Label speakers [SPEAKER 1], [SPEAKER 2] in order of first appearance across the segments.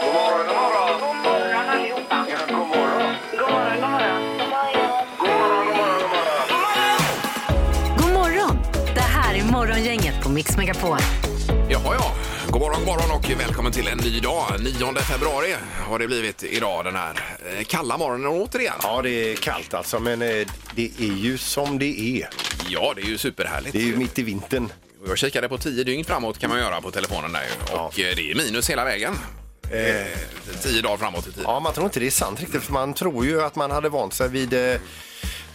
[SPEAKER 1] God morgon, god morgon. God morgon
[SPEAKER 2] allihopa.
[SPEAKER 1] Ja, god morgon.
[SPEAKER 2] God morgon, god morgon.
[SPEAKER 1] God morgon, god morgon, god morgon.
[SPEAKER 3] God morgon! Det här är Morgongänget på Mix Megapol.
[SPEAKER 4] Jaha, ja. God morgon, god morgon och välkommen till en ny dag. 9 februari har det blivit idag den här eh, kalla morgonen återigen.
[SPEAKER 5] Ja, det är kallt alltså, men eh, det är ju som det är.
[SPEAKER 4] Ja, det är ju superhärligt.
[SPEAKER 5] Det är ju mitt i vintern.
[SPEAKER 4] Jag kikade på 10 dygn framåt kan man göra på telefonen där ju. Och eh, det är minus hela vägen. 10 dagar framåt i tiden.
[SPEAKER 5] Ja, man tror inte det är sant riktigt, för man tror ju att man hade vant sig vid eh,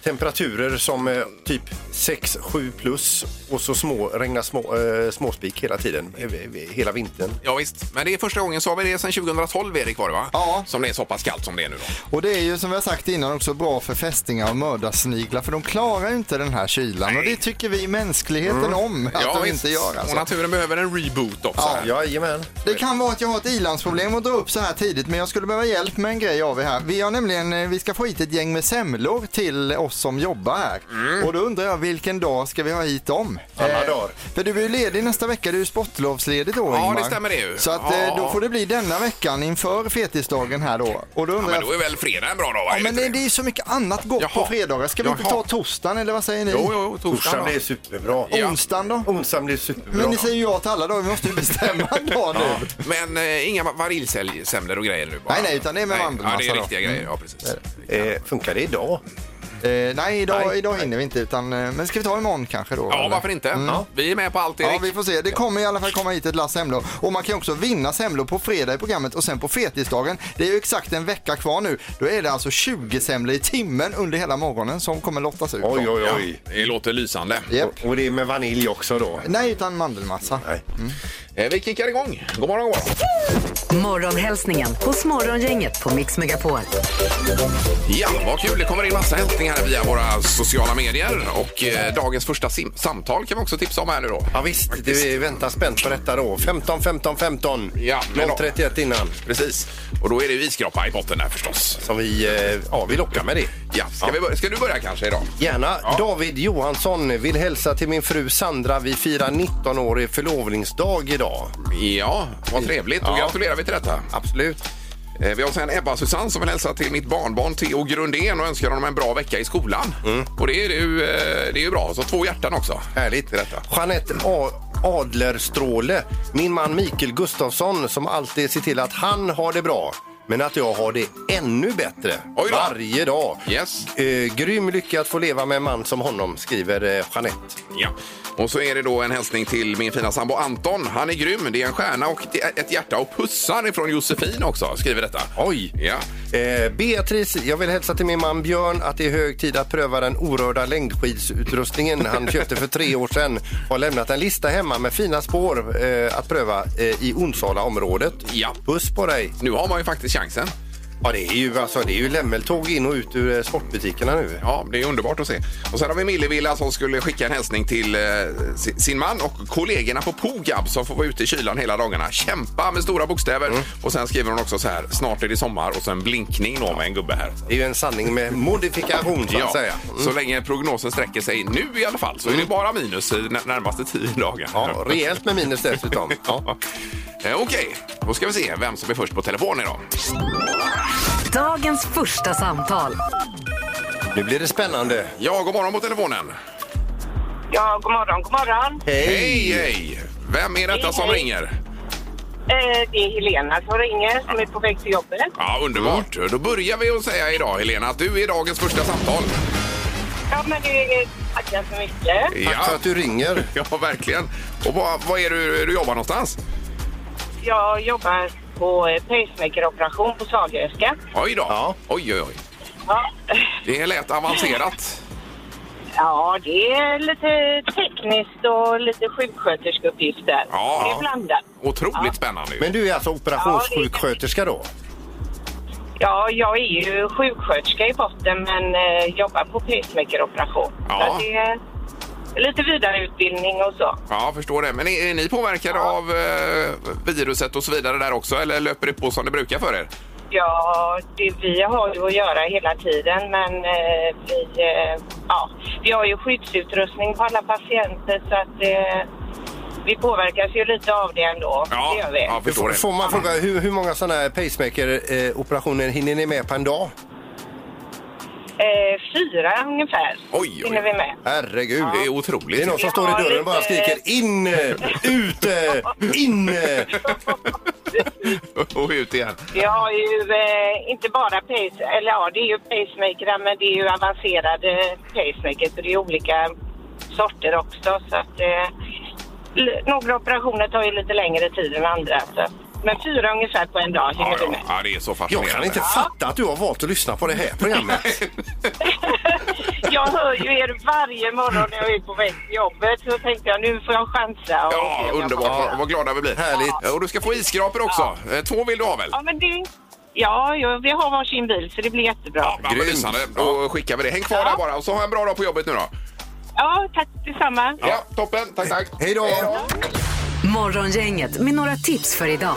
[SPEAKER 5] temperaturer som eh, typ 6-7 plus och så små, regnar små, eh, småspik hela tiden, eh, eh, hela vintern.
[SPEAKER 4] Ja, visst, men det är första gången sa vi det sedan 2012 Erik var det va?
[SPEAKER 6] Ja.
[SPEAKER 4] Som det är så pass kallt som det är nu då.
[SPEAKER 6] Och det är ju som vi har sagt innan också bra för fästingar och mördarsniglar för de klarar ju inte den här kylan och det tycker vi i mänskligheten om
[SPEAKER 4] Mm.
[SPEAKER 6] att
[SPEAKER 4] ja,
[SPEAKER 6] de
[SPEAKER 4] visst.
[SPEAKER 6] inte gör.
[SPEAKER 4] Och
[SPEAKER 6] Alltså.
[SPEAKER 4] naturen behöver en reboot också. här.
[SPEAKER 5] Jajamän.
[SPEAKER 6] Det kan vara att jag har ett ilandsproblem att dra upp så här tidigt men jag skulle behöva hjälp med en grej av er här. Vi har nämligen, eh, vi ska få hit ett gäng med semlor till oss som jobbar här.
[SPEAKER 4] Mm.
[SPEAKER 6] Och då undrar jag vilken dag ska vi ha hit dem? Eh,
[SPEAKER 5] Alla dagar.
[SPEAKER 6] För du är ju ledig nästa vecka, du är ju sportlovsledig då
[SPEAKER 4] Ja,
[SPEAKER 6] Ingmar.
[SPEAKER 4] det stämmer det ju.
[SPEAKER 6] Så att eh,
[SPEAKER 4] Ja.
[SPEAKER 6] då får det bli denna veckan inför fetisdagen här då. Och då
[SPEAKER 4] Ja,
[SPEAKER 6] undrar
[SPEAKER 4] men
[SPEAKER 6] jag,
[SPEAKER 4] då är väl fredag en bra dag va? Är
[SPEAKER 6] Ja, men
[SPEAKER 4] inte
[SPEAKER 6] det, det är ju så mycket annat gott på
[SPEAKER 4] Jaha.
[SPEAKER 6] fredagar. Ska vi inte
[SPEAKER 4] Jaha.
[SPEAKER 6] ta torsdagen eller vad säger ni?
[SPEAKER 4] Jo, jo, torsdagen
[SPEAKER 5] Torsdagen
[SPEAKER 4] va?
[SPEAKER 5] blir superbra.
[SPEAKER 4] Ja.
[SPEAKER 6] Onsdagen då?
[SPEAKER 5] Onsdagen blir superbra.
[SPEAKER 6] Men ni säger ju ja till alla dagar, vi måste ju bestämma en dag nu.
[SPEAKER 4] Men eh, inga vaniljsemlor och grejer nu bara?
[SPEAKER 6] Nej, nej, utan det är med
[SPEAKER 4] Ja, det
[SPEAKER 6] mandelmassa
[SPEAKER 4] är
[SPEAKER 6] då. Mm.
[SPEAKER 4] riktiga grejer. Ja, precis.
[SPEAKER 5] Eh, funkar det idag?
[SPEAKER 6] Eh, nej, idag,
[SPEAKER 5] Nej.
[SPEAKER 6] idag hinner vi inte. Utan, eh, men ska vi ta imorgon kanske då?
[SPEAKER 4] Ja,
[SPEAKER 6] eller?
[SPEAKER 4] varför inte? Vi är med på allt,
[SPEAKER 6] Mm. Ja,
[SPEAKER 4] Erik.
[SPEAKER 6] vi får se. Det kommer i alla fall komma hit ett lass semlor. Och man kan också vinna semlor på fredag i programmet och sen på fetisdagen. Det är ju exakt en vecka kvar nu. Då är det alltså 20 semlor i timmen under hela morgonen som kommer lottas ut. då.
[SPEAKER 5] Oj, oj, oj.
[SPEAKER 4] Det låter lysande.
[SPEAKER 6] Japp.
[SPEAKER 5] Och, och det är med vanilj också då?
[SPEAKER 6] Nej, utan mandelmassa.
[SPEAKER 5] Nej.
[SPEAKER 4] Eh, Vi kickar igång. God morgon, god morgon.
[SPEAKER 3] Morgonhälsningen hos Morgongänget på Mix Megapol.
[SPEAKER 4] Ja, vad kul. Det kommer in massa hälsningar här via våra sociala medier. Och eh, dagens första sim- samtal kan vi också tipsa om här nu då.
[SPEAKER 5] Ja visst,
[SPEAKER 4] Faktiskt.
[SPEAKER 5] vi väntar spänt på detta då. 15, 15, 15.
[SPEAKER 4] Ja, men då-
[SPEAKER 5] 031 innan.
[SPEAKER 4] Precis. Och då är det ju iskrapa i potten där förstås.
[SPEAKER 5] Som vi, eh, ja, vi lockar med det.
[SPEAKER 4] Ja, ska, Vi börja? ska du börja kanske idag?
[SPEAKER 5] Gärna.
[SPEAKER 4] Ja.
[SPEAKER 5] David Johansson vill hälsa till min fru Sandra. Vi firar 19-årig förlovningsdag idag.
[SPEAKER 4] Ja, vad trevligt. Då
[SPEAKER 5] Ja.
[SPEAKER 4] gratulerar vi till detta.
[SPEAKER 5] Absolut.
[SPEAKER 4] Eh, Vi har sen Ebba-Susanne som vill hälsa till mitt barnbarn Theo Grundén och önskar honom en bra vecka i skolan. Och det är ju, eh, det är ju bra. Så två hjärtan också.
[SPEAKER 5] Härligt.
[SPEAKER 4] Till detta.
[SPEAKER 5] Jeanette A. Adlerstråle. Min man Mikael Gustafsson som alltid ser till att han har det bra. Men att jag har det ännu bättre
[SPEAKER 4] Oj då.
[SPEAKER 5] varje dag.
[SPEAKER 4] Yes.
[SPEAKER 5] Eh, grym lycka att få leva med en man som honom, skriver eh, Jeanette.
[SPEAKER 4] Ja. Och så är det då en hälsning till min fina sambo Anton. Han är grym. Det är en stjärna och ett hjärta och pussar ifrån Josefin också, skriver detta.
[SPEAKER 5] Oj!
[SPEAKER 4] Ja.
[SPEAKER 5] Eh, Beatrice, jag vill hälsa till min man Björn att det är hög tid att pröva den orörda längdskidsutrustningen han köpte för tre år sedan. Har lämnat en lista hemma med fina spår eh, att pröva eh, i Onsala-området.
[SPEAKER 4] Ja.
[SPEAKER 5] Puss på dig!
[SPEAKER 4] Nu har man ju faktiskt chansen.
[SPEAKER 5] Ja, det är ju, alltså, det är ju lämmeltåg in och ut ur eh, sportbutikerna nu.
[SPEAKER 4] Ja, det är underbart att se. Och sen har vi Millevilla som skulle skicka en hälsning till eh, si- sin man och kollegorna på Pogab som får vara ute i kylan hela dagarna. Kämpa med stora bokstäver. Och sen skriver hon också så här, snart är det sommar och sen blinkning då med en gubbe här.
[SPEAKER 5] Det är ju en sanning med modifikation, så att säga.
[SPEAKER 4] så länge prognosen sträcker sig nu i alla fall så är det bara minus i n- närmaste tio dagar.
[SPEAKER 5] Ja, rejält med minus dessutom.
[SPEAKER 4] Ja. Eh, Okej, då ska vi se vem som är först på telefon idag.
[SPEAKER 3] Dagens första samtal.
[SPEAKER 5] Nu blir det spännande.
[SPEAKER 4] Ja, god morgon på telefonen.
[SPEAKER 2] Ja, god morgon, god morgon.
[SPEAKER 4] Hej, hej! Vem är detta
[SPEAKER 2] Hej,
[SPEAKER 4] som
[SPEAKER 2] hej.
[SPEAKER 4] ringer?
[SPEAKER 2] Eh, det är Helena som ringer som är på väg till jobbet.
[SPEAKER 4] Ja, underbart. Då börjar vi att säga idag, Helena, att du är dagens första samtal.
[SPEAKER 2] Ja, men det är... Tackar så mycket.
[SPEAKER 5] Tack för att du ringer.
[SPEAKER 4] Ja, verkligen. Och vad, vad är du, du jobbar någonstans?
[SPEAKER 2] Jag jobbar på eh, pacemakeroperation på Sahlgrenska.
[SPEAKER 4] Oj då.
[SPEAKER 5] Ja.
[SPEAKER 4] Oj, oj, oj.
[SPEAKER 2] Ja.
[SPEAKER 4] Det lät avancerat.
[SPEAKER 2] ja, det är lite tekniskt och lite sjuksköterskeuppgifter.
[SPEAKER 4] Ja.
[SPEAKER 2] Det är blandat.
[SPEAKER 4] Otroligt spännande. ju.
[SPEAKER 5] Men du är alltså operationssjuksköterska då?
[SPEAKER 2] Ja, jag är ju sjuksköterska i botten men eh, jobbar på pacemakeroperation.
[SPEAKER 4] Ja.
[SPEAKER 2] Så det är lite vidareutbildning och så.
[SPEAKER 4] Ja, jag förstår det. Men är, är ni påverkade av eh, viruset och så vidare där också? Eller löper det på som det brukar för er?
[SPEAKER 2] Ja, det, vi har ju att göra hela tiden men eh, vi, eh, ja, vi har ju skyddsutrustning på alla patienter så att eh, vi påverkas ju lite av det ändå.
[SPEAKER 4] Ja,
[SPEAKER 2] det gör vi.
[SPEAKER 4] ja förstår
[SPEAKER 5] Får,
[SPEAKER 4] det.
[SPEAKER 5] får man fråga hur, hur många sådana här pacemaker-operationer hinner ni med på en dag?
[SPEAKER 2] Eh, fyra ungefär
[SPEAKER 4] Oj, oj.
[SPEAKER 2] hinner vi med.
[SPEAKER 5] Herregud.
[SPEAKER 4] Det är otroligt.
[SPEAKER 5] Det är någon som
[SPEAKER 2] Vi
[SPEAKER 5] står i
[SPEAKER 2] har
[SPEAKER 5] dörren och
[SPEAKER 2] lite-
[SPEAKER 5] bara skriker in, ut, in.
[SPEAKER 4] Och ut igen.
[SPEAKER 2] Vi har ju eh, inte bara pace, eller ja, det är ju pacemaker men det är ju avancerade pacemaker så det är olika sorter också. Så att, eh, l- några operationer tar ju lite längre tid än andra. Så. att- Men fyra ungefär på en dag hinner
[SPEAKER 4] Ja,
[SPEAKER 2] vi
[SPEAKER 4] ja,
[SPEAKER 2] med.
[SPEAKER 4] ja, det är så
[SPEAKER 5] Jag
[SPEAKER 4] fascinerande.
[SPEAKER 5] kan inte fatta att du har valt att lyssna på det här programmet.
[SPEAKER 2] Jag hör ju er varje morgon när jag är på väg till jobbet så tänkte jag nu får jag chansa. Och
[SPEAKER 4] Ja,
[SPEAKER 2] se om jag
[SPEAKER 4] underbart.
[SPEAKER 2] får det.
[SPEAKER 4] Vad- Vad glada vi blir.
[SPEAKER 5] Härligt.
[SPEAKER 4] Eh, Och du ska få isskrapor också. Eh, Två vill du ha väl?
[SPEAKER 2] Ja, men det... Ja, ja, vi har varsin bil så det blir jättebra.
[SPEAKER 4] Ja, men
[SPEAKER 5] Grymt.
[SPEAKER 4] lysande. Då skickar vi det. Häng kvar där bara och så ha en bra dag på jobbet nu då.
[SPEAKER 2] Ja, tack detsamma.
[SPEAKER 4] Ja, toppen. Tack, tack.
[SPEAKER 5] Hej då!
[SPEAKER 3] Morgongänget med några tips för idag.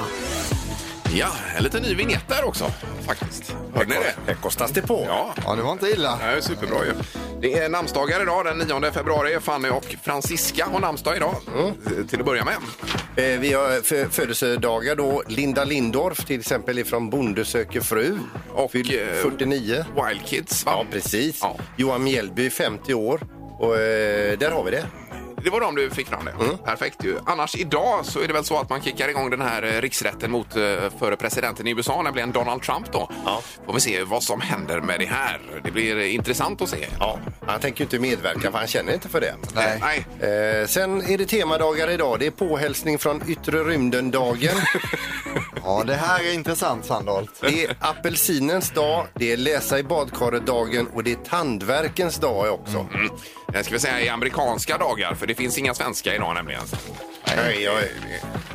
[SPEAKER 4] Ja, en liten ny vignett där också faktiskt. Hörde ni det?
[SPEAKER 5] Här kostas det på.
[SPEAKER 4] Ja.
[SPEAKER 6] Ja, det var inte illa.
[SPEAKER 4] Det är superbra ju. Det är namnsdagar idag den 9 februari. Fanny och Francisca har namnsdag idag. Eh, Till att börja med.
[SPEAKER 5] Eh, Vi har fö- födelsedagar då. Linda Lindorff till exempel ifrån Bonde söker fru.
[SPEAKER 4] Och,
[SPEAKER 5] Fyll
[SPEAKER 4] eh,
[SPEAKER 5] 49.
[SPEAKER 4] Wild Kids va?
[SPEAKER 5] Ja, precis.
[SPEAKER 4] Ja.
[SPEAKER 5] Johan Mjällby 50 år. Och eh, där har vi det.
[SPEAKER 4] Det var de du fick fram det. Perfekt ju. Annars idag så är det väl så att man kickar igång den här eh, riksrätten mot eh, före presidenten i USA, nämligen Donald Trump då.
[SPEAKER 5] Ja.
[SPEAKER 4] Får vi se vad som händer med det här. Det blir eh, intressant att se.
[SPEAKER 5] Ja, han tänker ju inte medverka för han känner inte för det.
[SPEAKER 4] Nej. Nej.
[SPEAKER 5] Eh, sen är det temadagar idag. Det är påhälsning från yttre rymden-dagen.
[SPEAKER 6] Ja, det här är intressant Sandholt.
[SPEAKER 5] Det är apelsinens dag, det är läsa i badkaret-dagen och det är tandverkens dag också.
[SPEAKER 4] Eh, Ska vi säga i amerikanska dagar, för det finns inga svenska idag nämligen.
[SPEAKER 5] Nej, jag,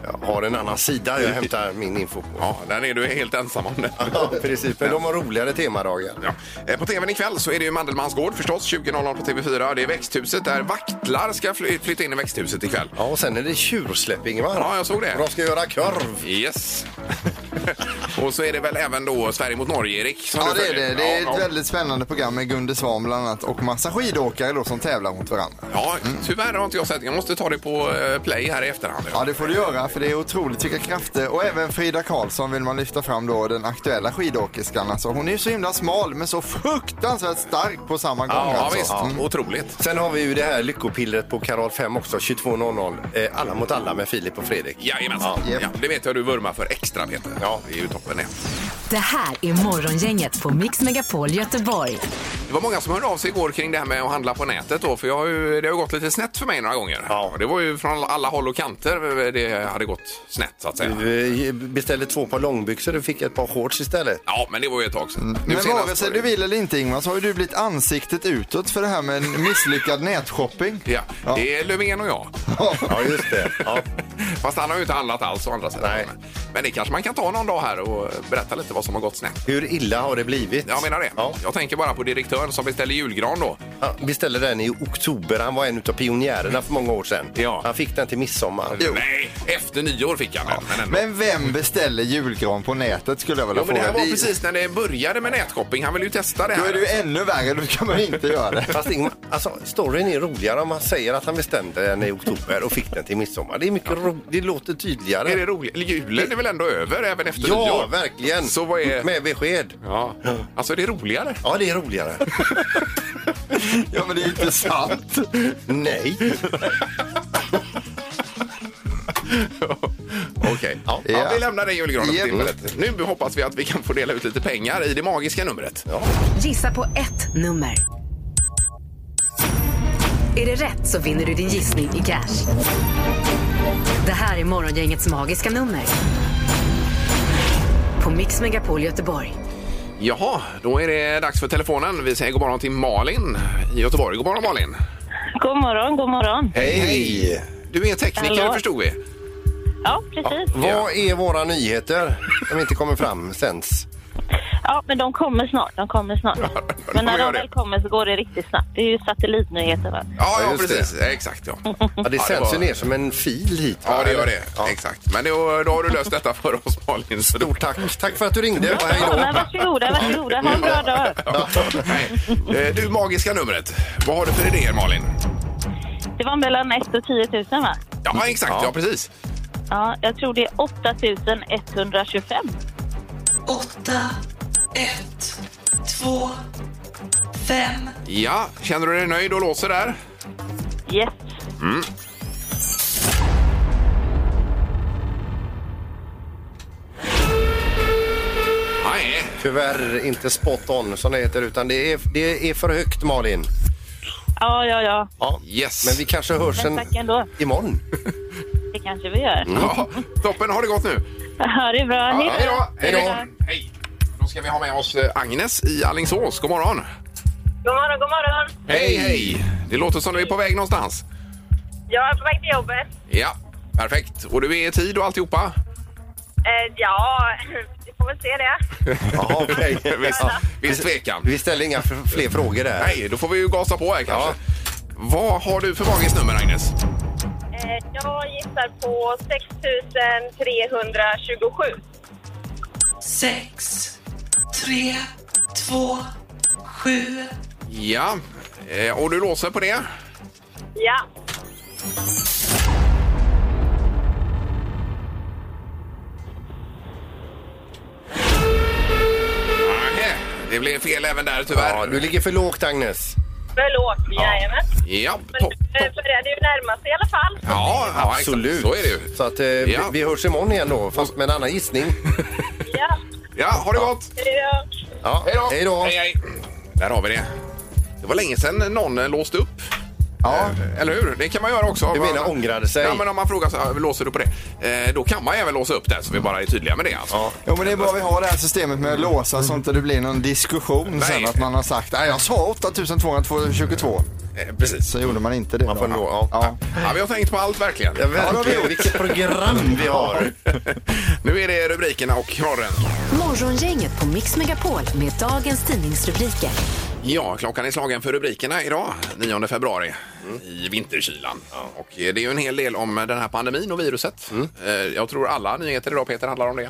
[SPEAKER 5] jag har en annan sida jag hämtar min info på.
[SPEAKER 4] Ja, där är du helt ensam om det.
[SPEAKER 5] Ja, precis. Men de har roligare temadagar.
[SPEAKER 4] Ja. Eh, På tvn ikväll så är det ju Mandelmans gård förstås, 20.00 på TV4. Det är växthuset där vaktlar ska fly- flytta in i växthuset ikväll.
[SPEAKER 5] Ja, och sen är det tjursläpp, Ingvar.
[SPEAKER 4] Ja, jag såg det.
[SPEAKER 5] Och de ska göra korv.
[SPEAKER 4] Yes. och så är det väl även då Sverige mot Norge, Erik? som
[SPEAKER 6] Ja,
[SPEAKER 4] du
[SPEAKER 6] det är
[SPEAKER 4] följer.
[SPEAKER 6] det. Det är
[SPEAKER 4] Ja,
[SPEAKER 6] ett
[SPEAKER 4] ja.
[SPEAKER 6] väldigt spännande program med Gunde Svan bland annat och massa skidåkare då som tävlar mot varandra.
[SPEAKER 4] Ja, tyvärr har inte jag sett. Jag måste ta det på eh, play här i efterhand.
[SPEAKER 6] Mm. Ja, det får du göra för det är otroligt vilka krafter. Och även Frida Karlsson vill man lyfta fram då, den aktuella skidåkerskan. Alltså, hon är ju så himla smal men så fruktansvärt stark på samma gång.
[SPEAKER 4] ja,
[SPEAKER 6] alltså.
[SPEAKER 4] visst.
[SPEAKER 6] Mm.
[SPEAKER 4] Otroligt.
[SPEAKER 5] Sen har vi ju det här lyckopillret på Kanal 5 också, 22.00. Eh, alla mot alla med Filip och Fredrik.
[SPEAKER 4] Jajamensan. Ja,
[SPEAKER 6] Japp.
[SPEAKER 4] det vet jag du vurmar för extra, Peter. Ja. Det är ju toppen det.
[SPEAKER 3] Det här är Morgongänget på Mix Megapol Göteborg.
[SPEAKER 4] Det var många som hörde av sig igår kring det här med att handla på nätet då, för jag har ju, det har ju gått lite snett för mig några gånger.
[SPEAKER 5] Ja.
[SPEAKER 4] Det var ju från alla håll och kanter det hade gått snett, så att säga.
[SPEAKER 5] Vi Eh, beställde två par långbyxor och fick ett par shorts istället.
[SPEAKER 4] Ja, men det var ju ett tag sedan. Nu
[SPEAKER 6] Men
[SPEAKER 4] senast
[SPEAKER 6] vare sig
[SPEAKER 4] var
[SPEAKER 6] du
[SPEAKER 4] det-
[SPEAKER 6] vill eller inte Ingmar så har ju du blivit ansiktet utåt för det här med misslyckad nätshopping.
[SPEAKER 4] Ja, det är Löfven och jag.
[SPEAKER 5] Ja, just det. Ja.
[SPEAKER 4] Fast han har ju inte handlat alls å andra sidan.
[SPEAKER 5] Nej.
[SPEAKER 4] Men det kanske man kan ta någon dag här och berätta lite vad som har gått snett.
[SPEAKER 5] Hur illa har det blivit?
[SPEAKER 4] Jag menar det.
[SPEAKER 5] Ja.
[SPEAKER 4] Jag tänker bara på direktören som beställer julgran då.
[SPEAKER 5] Han beställde den i oktober. Han var en av pionjärerna för många år sedan.
[SPEAKER 4] Ja.
[SPEAKER 5] Han fick den till midsommar.
[SPEAKER 4] Nej, efter nyår fick han den. Men, ändå.
[SPEAKER 6] Men vem beställer julgran på nätet skulle jag vilja
[SPEAKER 4] jo, men det här
[SPEAKER 6] fråga.
[SPEAKER 4] var
[SPEAKER 6] Det-
[SPEAKER 4] precis när det började med nätshopping. Han ville ju testa det
[SPEAKER 6] Då
[SPEAKER 4] här.
[SPEAKER 6] är det ju ännu värre, då kan man inte göra det.
[SPEAKER 5] Fast Ingmar, alltså, storyn är roligare om man säger att han bestämde den i oktober och fick den till midsommar. Det, är mycket ro- det låter tydligare.
[SPEAKER 4] Är det roligt? Eller Julen är väl ändå över även efter
[SPEAKER 5] ja,
[SPEAKER 4] nyår?
[SPEAKER 5] verkligen.
[SPEAKER 4] Så vad är...
[SPEAKER 5] Med besked.
[SPEAKER 4] Ja. Alltså, är det roligare?
[SPEAKER 5] Ja, det är roligare.
[SPEAKER 6] Ja, men det är inte sant.
[SPEAKER 5] Nej.
[SPEAKER 4] Okej. Ja.
[SPEAKER 6] Ja.
[SPEAKER 4] vi lämnar den julgranen för
[SPEAKER 6] Japp.
[SPEAKER 4] tillfället. Nu hoppas vi att vi kan få dela ut lite pengar i det magiska numret.
[SPEAKER 3] Gissa på ett nummer. Är det rätt så vinner du din gissning i cash. Det här är Morgongängets magiska nummer. På Mix Megapol Göteborg.
[SPEAKER 4] Jaha, då är det dags för telefonen. Vi säger god morgon till Malin i Göteborg. God morgon Malin!
[SPEAKER 7] God morgon, god morgon.
[SPEAKER 5] Hej!
[SPEAKER 4] Du är tekniker
[SPEAKER 7] Hallå.
[SPEAKER 4] förstod vi.
[SPEAKER 7] Ja, precis.
[SPEAKER 5] Vad är våra nyheter som inte kommer fram sänds?
[SPEAKER 7] Ja, men de kommer snart. De kommer snart.
[SPEAKER 4] de
[SPEAKER 7] Men när
[SPEAKER 4] gör
[SPEAKER 7] de
[SPEAKER 4] det.
[SPEAKER 7] väl kommer så går det riktigt snabbt. Det är ju satellitnyheter. Va?
[SPEAKER 4] Ja, ja,
[SPEAKER 5] Ja, just
[SPEAKER 4] precis. Exakt ja.
[SPEAKER 5] Ja, det
[SPEAKER 4] Ja, det
[SPEAKER 5] sänds ju
[SPEAKER 4] var-
[SPEAKER 5] ner som en fil hit. va?
[SPEAKER 4] Ja, det gör det.
[SPEAKER 5] Ja.
[SPEAKER 4] Exakt. Men då, då har du löst detta för oss Malin. Så då...
[SPEAKER 5] Stort tack. Tack för att du ringde. Och hej
[SPEAKER 7] Ja,
[SPEAKER 5] då.
[SPEAKER 7] men varsågoda, varsågoda. Ha en bra dag.
[SPEAKER 4] Nej. Eh, Du, magiska numret. Vad har du för idéer Malin?
[SPEAKER 7] Det var mellan 1 och 10 000, va?
[SPEAKER 4] Ja, exakt. Ja, precis.
[SPEAKER 7] Ja, jag tror det är 8125.
[SPEAKER 8] 8, 1, 2, 5.
[SPEAKER 4] Ja, känner du dig nöjd och låser där?
[SPEAKER 7] Yes.
[SPEAKER 4] Nej.
[SPEAKER 5] Tyvärr inte spot on som det heter utan det är, det är för högt Malin.
[SPEAKER 7] Ja, ja, ja.
[SPEAKER 5] Ja.
[SPEAKER 4] Yes.
[SPEAKER 5] Men vi kanske hörs
[SPEAKER 7] Men
[SPEAKER 5] en,
[SPEAKER 7] tack ändå.
[SPEAKER 5] imorgon.
[SPEAKER 7] Det kanske vi gör.
[SPEAKER 4] Ja, toppen, har det gått nu.
[SPEAKER 7] Ja, det är bra.
[SPEAKER 4] Mm. Ja, hej då!
[SPEAKER 7] Hej då.
[SPEAKER 4] Hej. Då ska vi ha med oss eh, Agnes i Alingsås. God morgon!
[SPEAKER 2] God morgon, god morgon.
[SPEAKER 4] Hej, hej! Det låter som du är på väg någonstans.
[SPEAKER 2] Jag är på väg till jobbet.
[SPEAKER 4] Ja, perfekt. Och du är i tid och alltihopa?
[SPEAKER 2] Eh, ja, vi får väl se det.
[SPEAKER 5] Ja, okej.
[SPEAKER 4] Visst, visst tvekan.
[SPEAKER 5] Vi ställer inga f- fler frågor där.
[SPEAKER 4] Nej, då får vi ju gasa på här kanske. Vad har du för magisnummer, Agnes?
[SPEAKER 2] Eh, jag gissar på 6327.
[SPEAKER 8] 6, 3, 2, 7.
[SPEAKER 4] Ja, eh, och du låser på det?
[SPEAKER 2] Ja.
[SPEAKER 4] Nej, det blev fel även där
[SPEAKER 5] Ja,
[SPEAKER 4] tyvärr.
[SPEAKER 5] du ligger för lågt Agnes.
[SPEAKER 2] Förlåt, jajamän.
[SPEAKER 4] Ja,
[SPEAKER 2] Men
[SPEAKER 4] topp.
[SPEAKER 2] eh, för det är det ju närmast i alla fall.
[SPEAKER 4] Ja, ja,
[SPEAKER 5] Absolut.
[SPEAKER 4] exakt. Så är det ju.
[SPEAKER 5] Så att, eh,
[SPEAKER 4] Ja.
[SPEAKER 5] vi, vi hörs imorgon igen då, fast med en annan gissning.
[SPEAKER 2] Ja.
[SPEAKER 4] Ja, ha det gott!
[SPEAKER 2] Ja.
[SPEAKER 5] Ja. Hej då!
[SPEAKER 4] Hej, hej. Där har vi det. Det var länge sedan någon eh, låste upp.
[SPEAKER 5] Ja.
[SPEAKER 4] Eh, Eller hur? Det kan man göra också.
[SPEAKER 5] Du menar ångrade sig?
[SPEAKER 4] Ja, men om man frågar så här, låser du på det? Eh, då kan man även låsa upp det, så vi bara är tydliga med det. Alltså.
[SPEAKER 6] Jo men det är bra vi har det här systemet med att låsa så inte det blir någon diskussion sen att man har sagt nej jag sa 8222
[SPEAKER 4] Eh, precis.
[SPEAKER 6] så gjorde man inte det.
[SPEAKER 5] Man får
[SPEAKER 6] då.
[SPEAKER 5] nå- ja.
[SPEAKER 6] Ja.
[SPEAKER 4] Ja, vi har tänkt på allt verkligen.
[SPEAKER 5] Ja, verkligen. Vilket program vi har!
[SPEAKER 4] nu är det rubrikerna och knorren.
[SPEAKER 3] Morgongänget på Mix Megapol med dagens tidningsrubriker.
[SPEAKER 4] Ja, klockan är slagen för rubrikerna idag, 9 februari,
[SPEAKER 5] Mm.
[SPEAKER 4] i vinterkylan. Och eh, det är ju en hel del om eh, den här pandemin och viruset.
[SPEAKER 5] Mm.
[SPEAKER 4] Eh, Jag tror alla nyheter idag, Peter, handlar om det.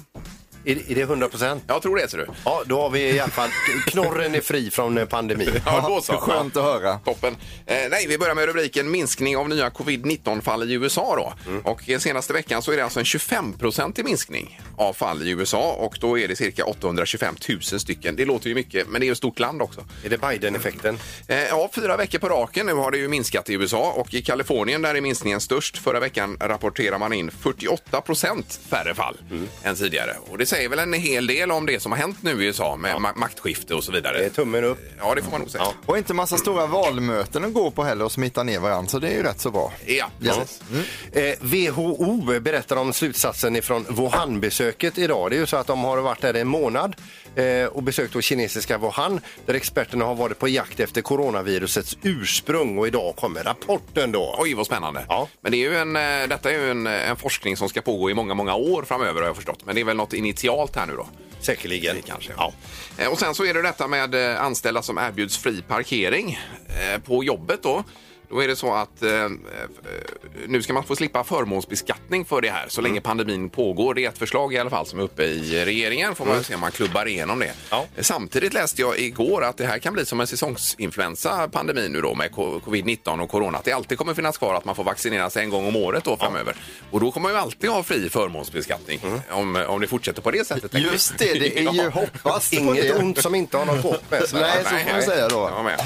[SPEAKER 5] Är, är det 100 procent?
[SPEAKER 4] Jag tror det, ser du.
[SPEAKER 5] Ja, då har vi i alla fall... Knorren är fri från eh, pandemin.
[SPEAKER 4] Ja, då så.
[SPEAKER 6] Skönt att höra.
[SPEAKER 4] Toppen. Eh, nej, vi börjar med rubriken minskning av nya covid-19-fall i USA. Då.
[SPEAKER 5] Mm.
[SPEAKER 4] Och eh, senaste veckan så är det alltså en 25-procentig minskning av fall i USA och då är det cirka 825 000 stycken. Det låter ju mycket, men det är ju ett stort land också.
[SPEAKER 5] Är det Biden-effekten?
[SPEAKER 4] Eh, Ja, fyra veckor på raken nu har det ju minskat i USA och i Kalifornien där är minskningen störst. Förra veckan rapporterar man in 48 procent färre fall
[SPEAKER 5] Mm.
[SPEAKER 4] än tidigare. Och det säger väl en hel del om det som har hänt nu i USA med ma- maktskifte och så
[SPEAKER 5] Det är
[SPEAKER 4] vidare.
[SPEAKER 5] Eh, tummen upp.
[SPEAKER 4] Ja, det får man nog säga.
[SPEAKER 6] Och inte massa stora valmöten att gå på heller och smitta ner varandra så det är ju rätt så bra.
[SPEAKER 4] Ja, precis.
[SPEAKER 5] Eh, WHO berättar om slutsatsen ifrån Wuhan-besöket idag. Det är ju så att de har varit där en månad eh, och besökt då kinesiska Wuhan där experterna har varit på jakt efter coronavirusets ursprung och idag kommer rapporten då.
[SPEAKER 4] Oj, vad spännande.
[SPEAKER 5] Ja.
[SPEAKER 4] Men det är ju en, eh, detta är ju en, eh, en forskning som ska pågå i många, många år framöver har jag förstått. Men det är väl något initialt här nu då?
[SPEAKER 5] Säkerligen.
[SPEAKER 4] Kanske.
[SPEAKER 5] Ja.
[SPEAKER 4] Eh, Och sen så är det detta med eh, anställda som erbjuds fri parkering eh, på jobbet då. Då är det så att eh, eh, nu ska man få slippa förmånsbeskattning för det här så
[SPEAKER 5] Mm.
[SPEAKER 4] länge pandemin pågår. Det är ett förslag i alla fall som är uppe i regeringen. Får man se om man klubbar igenom det.
[SPEAKER 5] Mm. Ja.
[SPEAKER 4] Eh, Samtidigt läste jag igår att det här kan bli som en säsongsinfluensa pandemin nu då med co- covid-19 och corona. Att det alltid kommer finnas kvar att man får vaccinera sig en gång om året då framöver. Och då kommer man ju alltid ha fri förmånsbeskattning
[SPEAKER 5] Mm.
[SPEAKER 4] om, om det fortsätter på det sättet. tänker jag.
[SPEAKER 6] Just det, det är
[SPEAKER 4] Ja.
[SPEAKER 6] ju hoppas på
[SPEAKER 5] Inget
[SPEAKER 6] det.
[SPEAKER 5] ont som inte har något gott med sig.
[SPEAKER 6] Nej, så får man säga då.
[SPEAKER 4] Jag med.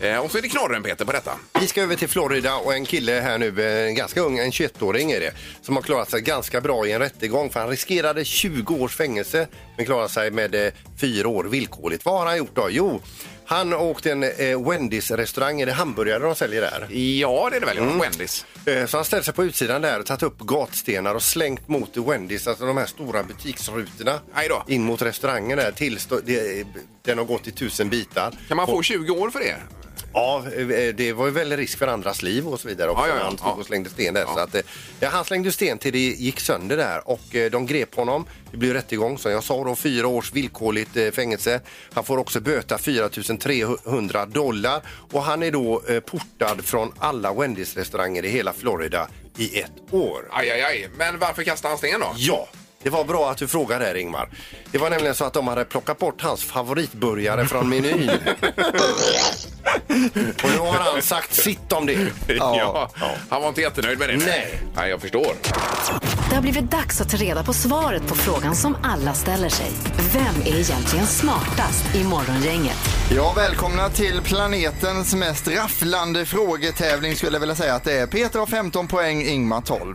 [SPEAKER 4] Eh, Och så är det knorren Peter på detta.
[SPEAKER 5] Vi ska över till Florida och en kille här nu, eh, en ganska ung, en 21-åring är det, som har klarat sig ganska bra i en rättegång för han riskerade 20 års fängelse men klarade sig med eh, fyra år villkorligt. Vad har han gjort då? Jo, han åkte en eh, Wendys-restaurang, är det hamburgare de säljer där?
[SPEAKER 4] Ja, det är det väl.
[SPEAKER 6] Mm.
[SPEAKER 4] Wendys.
[SPEAKER 5] Eh, Så han ställde sig på utsidan där och tagit upp gatstenar och slängt mot Wendys, alltså de här stora butiksrutorna
[SPEAKER 4] Aj då.
[SPEAKER 5] in mot restaurangen där tills då- det- eh, den har gått i tusen bitar.
[SPEAKER 4] Kan man få 20 år för det?
[SPEAKER 5] Ja, eh, det var ju väl risk för andras liv och så vidare också.
[SPEAKER 4] Ja, ja, ja.
[SPEAKER 5] Han stod
[SPEAKER 4] Ja.
[SPEAKER 5] och slängde sten där.
[SPEAKER 4] Ja.
[SPEAKER 5] Så att, eh, ja, han slängde sten till det gick sönder där och eh, de grep honom. Det blir rättegång som jag sa då, fyra års villkorligt eh, fängelse. Han får också böta 4 300 dollar och han är då eh, portad från alla Wendys restauranger i hela Florida i ett år.
[SPEAKER 4] Aj, aj, aj. Men varför kastade han sten då?
[SPEAKER 5] Ja, det var bra att du frågar där Ingmar. Det var nämligen så att de hade plockat bort hans favoritburgare från menyn. Och nu har han sagt sitt om det.
[SPEAKER 4] Ja. Han var inte jättenöjd med det.
[SPEAKER 5] Nej.
[SPEAKER 4] Nej, jag förstår.
[SPEAKER 3] Det har blivit dags att ta reda på svaret på frågan som alla ställer sig. Vem är egentligen smartast i Morgongänget?
[SPEAKER 6] Ja, välkomna till planetens mest rafflande frågetävling skulle jag vilja säga att det är. Peter har 15 poäng, Ingmar 12.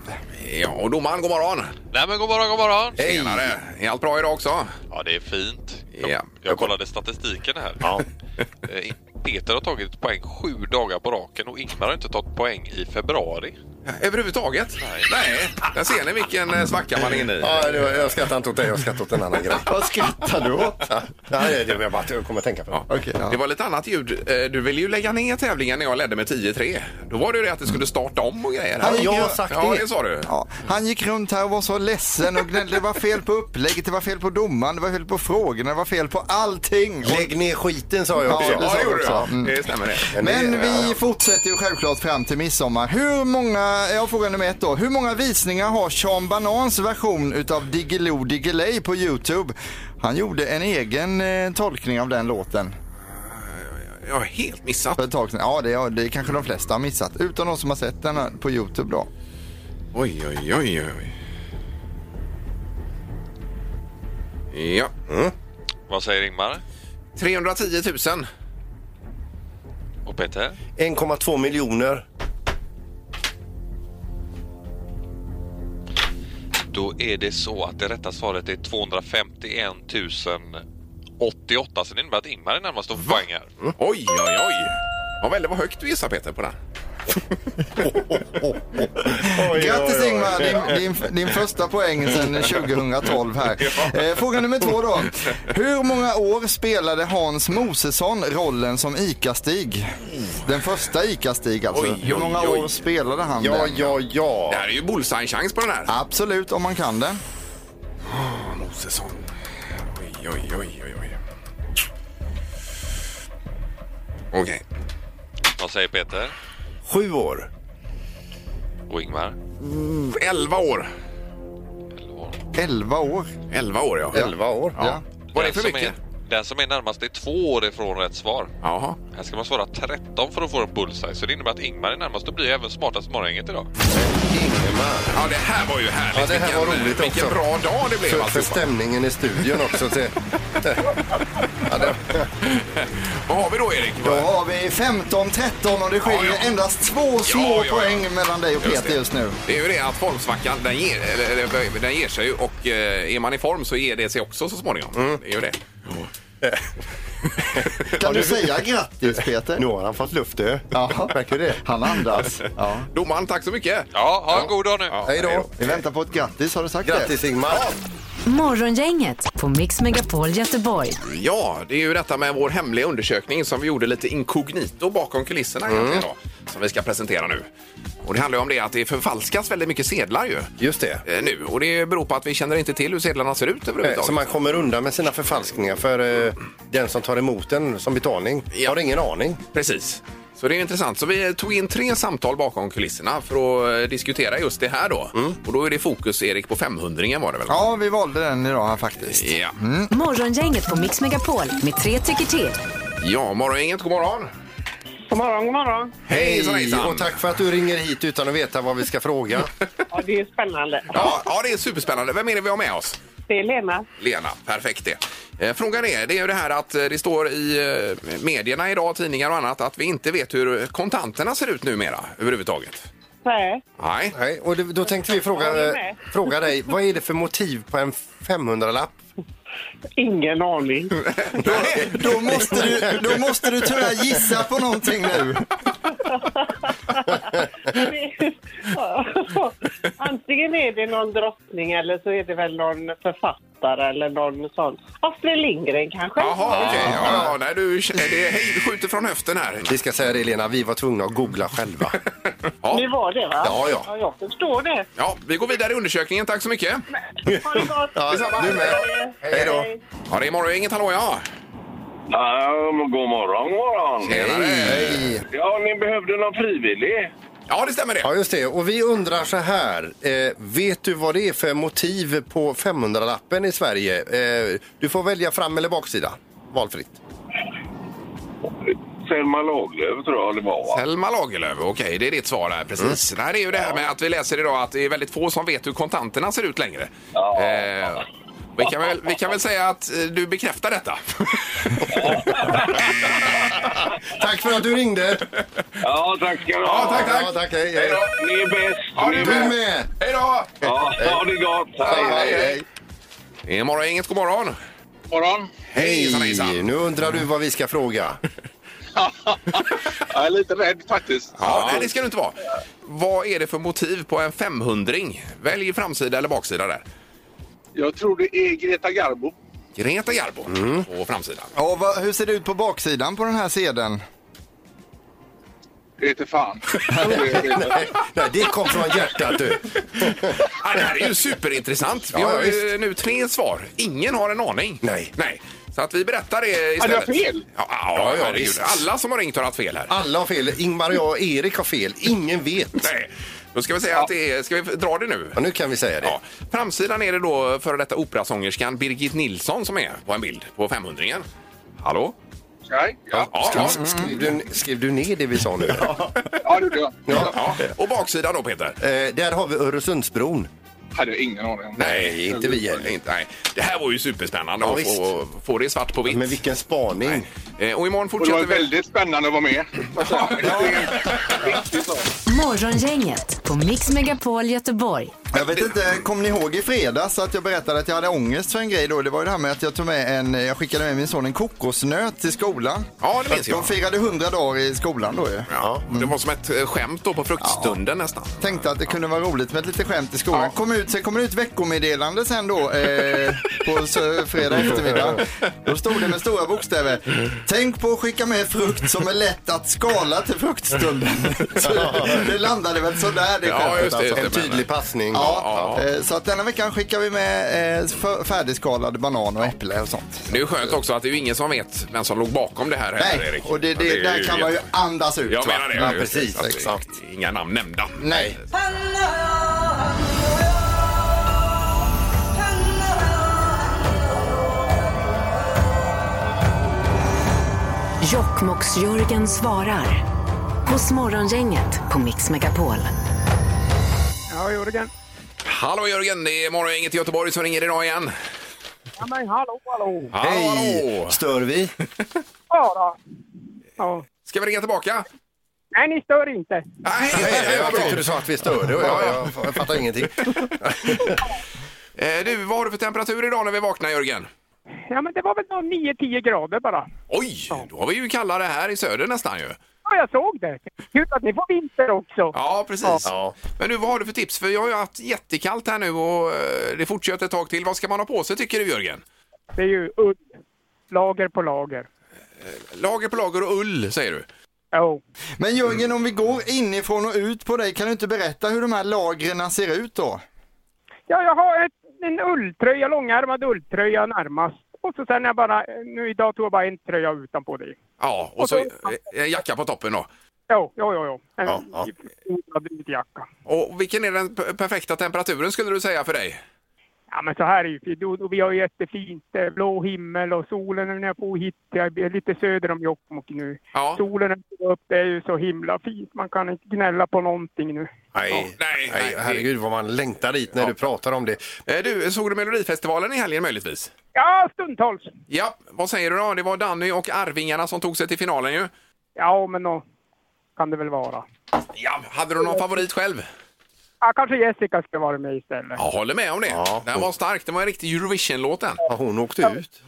[SPEAKER 4] Ja, och domaren, god morgon.
[SPEAKER 9] Nej men god morgon, god morgon!
[SPEAKER 4] Hej. Tjenare. Är allt bra idag också?
[SPEAKER 9] Ja det är fint. Jag,
[SPEAKER 4] Ja.
[SPEAKER 9] jag kollade statistiken här. Eh, Peter har tagit poäng sju dagar på raken och Ingmar har inte tagit poäng i februari.
[SPEAKER 4] Överhuvudtaget? Nej. Nej. Där ser ni vilken eh, svacka man är inne i.
[SPEAKER 5] Ja, det var, jag skrattar inte åt dig, jag skrattar åt en annan grej.
[SPEAKER 6] Vad skrattar du åt?
[SPEAKER 5] Nej, det var jag bara jag kommer att tänka på.
[SPEAKER 4] Ja.
[SPEAKER 5] det.
[SPEAKER 6] Okej, ja.
[SPEAKER 4] Det var lite annat ljud. Eh, Du ville ju lägga ner tävlingen när jag ledde med 10-3. Då var det ju det att det skulle starta om och grejer.
[SPEAKER 6] Hade
[SPEAKER 5] jag
[SPEAKER 6] gör-
[SPEAKER 5] sagt
[SPEAKER 4] Ja,
[SPEAKER 5] det?
[SPEAKER 4] det sa du.
[SPEAKER 6] Ja, han gick runt här och var så ledsen och gnällde. Det var fel på upplägget, det var fel på domaren, det var fel på frågorna, det var fel på allting.
[SPEAKER 5] Lägg ner skiten sa jag också.
[SPEAKER 4] Ja,
[SPEAKER 6] Ja, det
[SPEAKER 4] det
[SPEAKER 6] sa
[SPEAKER 4] gjorde
[SPEAKER 6] du
[SPEAKER 4] du.
[SPEAKER 6] också.
[SPEAKER 4] ja.
[SPEAKER 6] Mm.
[SPEAKER 4] Det stämmer det.
[SPEAKER 6] Men vi fortsätter ju självklart fram till midsommar. Hur många, jag frågar nummer ett då. Hur många visningar har Sean Banans version utav Diggiloo Diggiley på Youtube? Han gjorde en egen eh, tolkning av den låten
[SPEAKER 4] Jag har helt missat.
[SPEAKER 6] för ett tag sedan. Ja, det, ja, det kanske de flesta har missat. Utan de som har sett den här på Youtube då.
[SPEAKER 4] Oj, oj, oj, oj. Ja. Mm.
[SPEAKER 9] Vad säger Ingmar?
[SPEAKER 4] 310 000.
[SPEAKER 9] Och Peter?
[SPEAKER 5] 1,2 miljoner.
[SPEAKER 9] Då är det så att det rätta svaret är 251 088. Så det innebär att Ingmar är närmast att få poäng här.
[SPEAKER 4] Oj, oj, oj. Ja, väldigt vad högt du gissar Peter på den.
[SPEAKER 6] Grattis Ingmar, din, din, din första poäng sedan 2012 här. Eh, Fråga nummer två då. Hur många år spelade Hans Mosesson rollen som ICA-Stig? Den första ICA-Stig alltså.
[SPEAKER 4] Oj, oj,
[SPEAKER 6] Hur många
[SPEAKER 4] oj.
[SPEAKER 6] år spelade han
[SPEAKER 5] Ja,
[SPEAKER 6] den?
[SPEAKER 5] ja, ja.
[SPEAKER 4] Det här är ju bullseye-chans på den här.
[SPEAKER 6] Absolut, om man kan det.
[SPEAKER 4] Mosesson. Oj, oj, oj, oj, oj. Okej.
[SPEAKER 9] Vad säger Peter?
[SPEAKER 5] Sju år.
[SPEAKER 9] Och Ingmar?
[SPEAKER 4] 11 år.
[SPEAKER 6] 11 år.
[SPEAKER 4] 11 år, ja.
[SPEAKER 5] Elva år.
[SPEAKER 4] Ja. Var det
[SPEAKER 9] Den
[SPEAKER 4] för
[SPEAKER 9] som
[SPEAKER 4] mycket?
[SPEAKER 9] Är, den som är närmast är två år ifrån rätt svar.
[SPEAKER 4] Jaha.
[SPEAKER 9] Här ska man svara 13 för att få en bullseye, så det innebär att Ingmar är närmast och blir även smartast i morgongänget idag.
[SPEAKER 5] Ingmar.
[SPEAKER 4] Ja, det här var ju härligt.
[SPEAKER 5] Ja, det här
[SPEAKER 4] vilken, eh,
[SPEAKER 5] var roligt
[SPEAKER 4] vilken
[SPEAKER 5] också.
[SPEAKER 4] bra dag det blev
[SPEAKER 5] För, för
[SPEAKER 4] alltihopa.
[SPEAKER 5] stämningen i studion också. Till,
[SPEAKER 4] Vad har vi då, Erik?
[SPEAKER 6] Då har vi 15-13 och det skiljer
[SPEAKER 4] Ja, ja.
[SPEAKER 6] endast två små
[SPEAKER 4] Ja, ja, ja.
[SPEAKER 6] poäng mellan dig och
[SPEAKER 4] Just
[SPEAKER 6] Peter
[SPEAKER 4] det.
[SPEAKER 6] just nu.
[SPEAKER 4] Det är ju det att formsvackan, den ger, eller, eller, den ger sig ju och eh, är man i form så ger det sig också så småningom.
[SPEAKER 5] Mm.
[SPEAKER 4] Det är ju det.
[SPEAKER 6] Kan du säga grattis Peter?
[SPEAKER 5] nu har han fått luft du.
[SPEAKER 6] Ja,
[SPEAKER 5] Märker du det?
[SPEAKER 6] han andas. Ja.
[SPEAKER 4] Domaren, tack så mycket!
[SPEAKER 9] Ja, ha en god dag nu!
[SPEAKER 5] Hej då.
[SPEAKER 6] Vi väntar på ett grattis, har du sagt det?
[SPEAKER 5] Grattis Ingmar.
[SPEAKER 3] Morgongänget på Mix Megapol Göteborg.
[SPEAKER 4] Ja, det är ju detta med vår hemliga undersökning som vi gjorde lite inkognito bakom kulisserna egentligen
[SPEAKER 5] Mm.
[SPEAKER 4] då, som vi ska presentera nu. Och det handlar ju om det att det förfalskas väldigt mycket sedlar ju.
[SPEAKER 5] Just det.
[SPEAKER 4] eh, Nu, och det beror på att vi känner inte till hur sedlarna ser ut
[SPEAKER 5] Eh,
[SPEAKER 4] överhuvudtaget.
[SPEAKER 5] Så man kommer undan med sina förfalskningar för eh, den som tar emot den som betalning
[SPEAKER 4] Ja.
[SPEAKER 5] har ingen aning.
[SPEAKER 4] Precis. Så det är intressant. Så vi tog in tre samtal bakom kulisserna för att eh, diskutera just det här då.
[SPEAKER 5] Mm.
[SPEAKER 4] Och då är det fokus, Erik, på 500 var det väl?
[SPEAKER 6] Ja, vi valde den idag här faktiskt.
[SPEAKER 4] Ja,
[SPEAKER 5] Mm.
[SPEAKER 3] Morgongänget på Mix Megapol med tre tycker till.
[SPEAKER 4] ja morgongänget, god morgon!
[SPEAKER 2] God morgon, god morgon.
[SPEAKER 4] Hejsan, hejsan!
[SPEAKER 5] och tack för att du ringer hit utan att veta vad vi ska fråga.
[SPEAKER 2] Ja, det är spännande.
[SPEAKER 4] Ja, ja, det är superspännande. Vem är det vi har med oss?
[SPEAKER 2] Det är Lena.
[SPEAKER 4] Lena, perfekt det. Eh, Frågan är, det är ju det här att eh, det står i eh, medierna idag, tidningar och annat, att vi inte vet hur kontanterna ser ut numera överhuvudtaget.
[SPEAKER 2] Nej.
[SPEAKER 4] Nej.
[SPEAKER 5] Nej, och det, då tänkte
[SPEAKER 2] Ja,
[SPEAKER 5] vi
[SPEAKER 2] jag
[SPEAKER 5] fråga, eh,
[SPEAKER 2] är med.
[SPEAKER 5] fråga dig, vad är det för motiv på en 500-lapp?
[SPEAKER 2] Ingen aning.
[SPEAKER 4] Nej.
[SPEAKER 6] Då måste, du, då måste du tyvärr gissa på någonting nu.
[SPEAKER 2] Antingen är det någon drottning eller så är det väl någon författare eller någon sån. Astrid Lindgren kanske?
[SPEAKER 4] Jaha, okej. Ja, ja, nej, du är det, hej, du skjuter från höften här.
[SPEAKER 5] Vi ska säga det Lena, vi var tvungna att googla själva.
[SPEAKER 2] Nu var det va?
[SPEAKER 5] Ja, ja.
[SPEAKER 2] jag förstår det.
[SPEAKER 4] Ja, vi går vidare i undersökningen. Tack så mycket.
[SPEAKER 2] Ha det gott.
[SPEAKER 5] Ja, du
[SPEAKER 2] Eh,
[SPEAKER 5] med. Hej då.
[SPEAKER 4] Ja, det är morgon, inget hallå ja.
[SPEAKER 1] Um, god morgon, god morgon.
[SPEAKER 5] Hej.
[SPEAKER 1] Ja, ni behövde någon frivillig?
[SPEAKER 4] Ja, det stämmer det.
[SPEAKER 5] Ja, just det. Och vi undrar så här. Eh, vet du vad det är för motiv på 500-lappen i Sverige? Eh, du får välja fram eller baksida. Valfritt.
[SPEAKER 2] Selma Lagerlöf tror jag det var. Va?
[SPEAKER 4] Selma Lagerlöf, okej, det är ditt svar där. Precis. Nej, det är ju det här med att vi läser idag att det är väldigt få som vet hur kontanterna ser ut längre.
[SPEAKER 2] Ja.
[SPEAKER 4] Eh, vi, kan väl, vi kan väl säga att eh, du bekräftar detta.
[SPEAKER 5] Tack för att du ringde.
[SPEAKER 2] Ja, tack ska du ha.
[SPEAKER 4] Ja, tack, tack.
[SPEAKER 5] Ja, tack hej, hej.
[SPEAKER 4] Hej då.
[SPEAKER 2] Ni är bäst.
[SPEAKER 4] Ja,
[SPEAKER 2] Ni
[SPEAKER 4] du
[SPEAKER 2] är
[SPEAKER 5] Du
[SPEAKER 2] bäst.
[SPEAKER 5] med.
[SPEAKER 4] Hej då!
[SPEAKER 2] Ja, ha det gott.
[SPEAKER 4] hej, hej. Det är Morgongänget, god morgon.
[SPEAKER 10] morgon.
[SPEAKER 4] Hejsan, hejsan.
[SPEAKER 5] Nu undrar du vad vi ska fråga.
[SPEAKER 10] Jag är lite rädd faktiskt.
[SPEAKER 4] Ja, nej, det ska du inte vara. Vad är det för motiv på en 500-ring? Välj framsida eller baksida där.
[SPEAKER 10] Jag tror det är Greta Garbo.
[SPEAKER 4] Greta Garbo på framsidan.
[SPEAKER 6] Ja, va, hur ser det ut på baksidan på den här sedeln?
[SPEAKER 10] Det vete fan.
[SPEAKER 5] Nej, det kom från hjärtat du.
[SPEAKER 4] Ja, det här är ju superintressant. Vi
[SPEAKER 5] Ja,
[SPEAKER 4] har
[SPEAKER 5] ja,
[SPEAKER 4] ju nu tre svar. Ingen har en aning.
[SPEAKER 5] Nej.
[SPEAKER 4] Nej. Så att vi berättar det
[SPEAKER 10] Hade
[SPEAKER 4] istället.
[SPEAKER 10] jag fel?
[SPEAKER 4] Ja, ja,
[SPEAKER 5] ja,
[SPEAKER 4] herregud.
[SPEAKER 5] visst.
[SPEAKER 4] Alla som har ringt har haft fel här.
[SPEAKER 5] Alla har fel. Ingmar och jag och Erik har fel. Ingen vet.
[SPEAKER 4] Nej. Då ska vi säga att det är... Ska vi dra det nu?
[SPEAKER 5] Ja, nu kan vi säga det.
[SPEAKER 4] Ja. Framsidan är det då före detta operasångerskan Birgit Nilsson som är på en bild på 500-ringen. Hallå?
[SPEAKER 10] Nej, ja.
[SPEAKER 4] Ja, ja.
[SPEAKER 5] Sk- Skrev, du, skrev du ner det vi sa nu?
[SPEAKER 10] ja, det gjorde jag.
[SPEAKER 4] ja. Och baksidan då, Peter?
[SPEAKER 5] Eh, där har vi Öresundsbron.
[SPEAKER 10] Hade jag ingen aning om.
[SPEAKER 4] Nej, inte vi heller. Inte, nej. Det här var ju superspännande
[SPEAKER 5] Ja,
[SPEAKER 4] att få, få det svart på vitt.
[SPEAKER 5] Men vilken spaning.
[SPEAKER 4] Eh, Och imorgon
[SPEAKER 10] Och det var
[SPEAKER 4] fortsätter vi...
[SPEAKER 10] väldigt spännande att vara med. Ja,
[SPEAKER 3] Morgongänget på Mix Megapol Göteborg.
[SPEAKER 6] Jag vet inte, kom ni ihåg i fredags att jag berättade att jag hade ångest för en grej då? Det var ju det här med att jag tog med en, jag skickade med min son en kokosnöt till skolan.
[SPEAKER 4] Ja, det minns jag.
[SPEAKER 6] De firade 100 dagar i skolan då ju.
[SPEAKER 4] Ja, Det var som ett eh, skämt då på fruktstunden nästan.
[SPEAKER 6] Tänkte att det kunde vara roligt med ett litet skämt i skolan. Kom ut, sen kom det ut veckomeddelande sen då eh, på sö- fredag eftermiddag. Då stod det med stora bokstäver. Tänk på att skicka med frukt som är lätt att skala till fruktstunden. Så det landade väl sådär det
[SPEAKER 4] Ja,
[SPEAKER 6] skämtet alltså.
[SPEAKER 4] just det, just det.
[SPEAKER 5] Alltså, En tydlig passning.
[SPEAKER 6] Ja, eh, så att denna veckan skickar vi med eh, f- färdigskalad banan och äpple och sånt.
[SPEAKER 4] Det är ju skönt också att det är ju ingen som vet vem som låg bakom det här heller,
[SPEAKER 6] Nej,
[SPEAKER 4] Erik.
[SPEAKER 6] och det,
[SPEAKER 4] Så
[SPEAKER 6] det,
[SPEAKER 4] är
[SPEAKER 6] där kan man ju
[SPEAKER 4] jätte-
[SPEAKER 6] andas ut.
[SPEAKER 4] Jag
[SPEAKER 6] va?
[SPEAKER 4] menar det.
[SPEAKER 6] Ja,
[SPEAKER 4] ju.
[SPEAKER 6] precis,
[SPEAKER 4] Att det-
[SPEAKER 6] exakt.
[SPEAKER 4] Inga namn nämnda.
[SPEAKER 6] Nej.
[SPEAKER 3] Jokkmokks-Jörgen svarar. Hos Morgongänget på Mix Megapol.
[SPEAKER 11] Ja, Jörgen.
[SPEAKER 4] Hallå Jörgen, det är Morgongänget i Göteborg som ringer idag igen.
[SPEAKER 11] Ja, men hallå, hallå.
[SPEAKER 4] Hallå, hallå!
[SPEAKER 5] Stör vi?
[SPEAKER 11] Ja, då. Ja.
[SPEAKER 4] Ska vi ringa tillbaka? Ah,
[SPEAKER 11] Nej, ni stör inte.
[SPEAKER 4] Nej, det var
[SPEAKER 5] Jag tyckte
[SPEAKER 4] bra.
[SPEAKER 5] du sa att vi störde och jag, jag fattar ingenting.
[SPEAKER 4] Eh, Du, vad har du för temperatur idag när vi vaknar Jörgen?
[SPEAKER 11] Ja, men det var väl någon 9-10 grader bara.
[SPEAKER 4] Oj, då har vi ju kallare här i söder nästan ju.
[SPEAKER 11] Ja, jag såg det. Kul att ni får vinter också.
[SPEAKER 4] Ja, precis.
[SPEAKER 5] Ja.
[SPEAKER 4] Men du, vad har du för tips? För jag har ju haft jättekallt här nu och eh, det fortsätter ett tag till. Vad ska man ha på sig tycker du Jörgen?
[SPEAKER 11] Det är ju udd. Lager på lager.
[SPEAKER 4] Lager på lager och ull säger du.
[SPEAKER 11] Jo.
[SPEAKER 6] Men Jörgen, om vi går inifrån och ut på dig, kan du inte berätta hur de här lagren ser ut då?
[SPEAKER 11] Ja, jag har ett, en ulltröja, långärmad ulltröja närmast. Och så sen är jag bara, nu idag tog jag bara en tröja utanpå det.
[SPEAKER 4] Ja, och så eh, en jacka på toppen då.
[SPEAKER 11] Jo, jo, jo, jo. En
[SPEAKER 5] Ja,
[SPEAKER 11] ja,
[SPEAKER 5] ja.
[SPEAKER 11] jacka.
[SPEAKER 4] Och vilken är den p- perfekta temperaturen skulle du säga för dig?
[SPEAKER 11] Ja, men så här är ju fint. Och- och Vi har ju jättefint eh, blå himmel och solen är när jag får hit. Jag är lite söder om Jokkmokk nu.
[SPEAKER 4] Ja.
[SPEAKER 11] Solen är upp, det är ju så himla fint. Man kan inte gnälla på någonting nu.
[SPEAKER 5] Nej,
[SPEAKER 4] nej,
[SPEAKER 5] nej,
[SPEAKER 4] nej.
[SPEAKER 5] herregud vad man längtar dit när du pratar om det.
[SPEAKER 4] Eh, Du, såg du Melodifestivalen i helgen möjligtvis?
[SPEAKER 11] Ja, stundtals.
[SPEAKER 4] Ja, vad säger du då? Det var Danny och Arvingarna som tog sig till finalen ju.
[SPEAKER 11] Ja, men då kan det väl vara.
[SPEAKER 4] Ja, hade du någon favorit själv?
[SPEAKER 11] Ja, kanske Jessica ska vara med istället.
[SPEAKER 4] Jag håller med om det.
[SPEAKER 5] Ja.
[SPEAKER 4] Den var stark. Den var en riktig Eurovision-låten.
[SPEAKER 5] Ja, hon åkte ut.